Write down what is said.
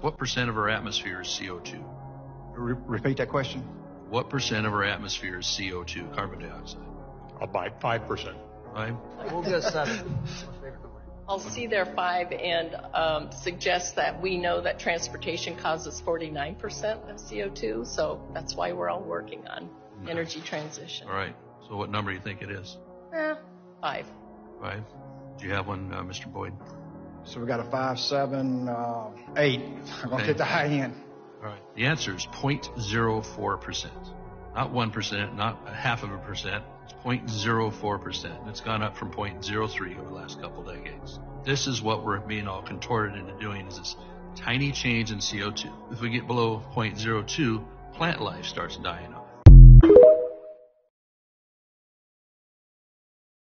what percent of our atmosphere is CO2? Re- repeat that question. What percent of our atmosphere is CO2, carbon dioxide? About five percent. Five? We'll go seven. I'll see their five and um, suggest that we know that transportation causes 49% of CO2, so that's why we're all working on energy transition. All right. So what number do you think it is? Eh, five. Five? Do you have one, uh, Mr. Boyd? So we got a five, seven, uh, eight. I'm gonna Eight. hit the high end. All right. The answer is 0.04%. Not 1%, not a half of a percent. It's 0.04%. And It's gone up from 0.03 over the last couple decades. This is what we're being all contorted into doing is this tiny change in CO2. If we get below 0.02, plant life starts dying off.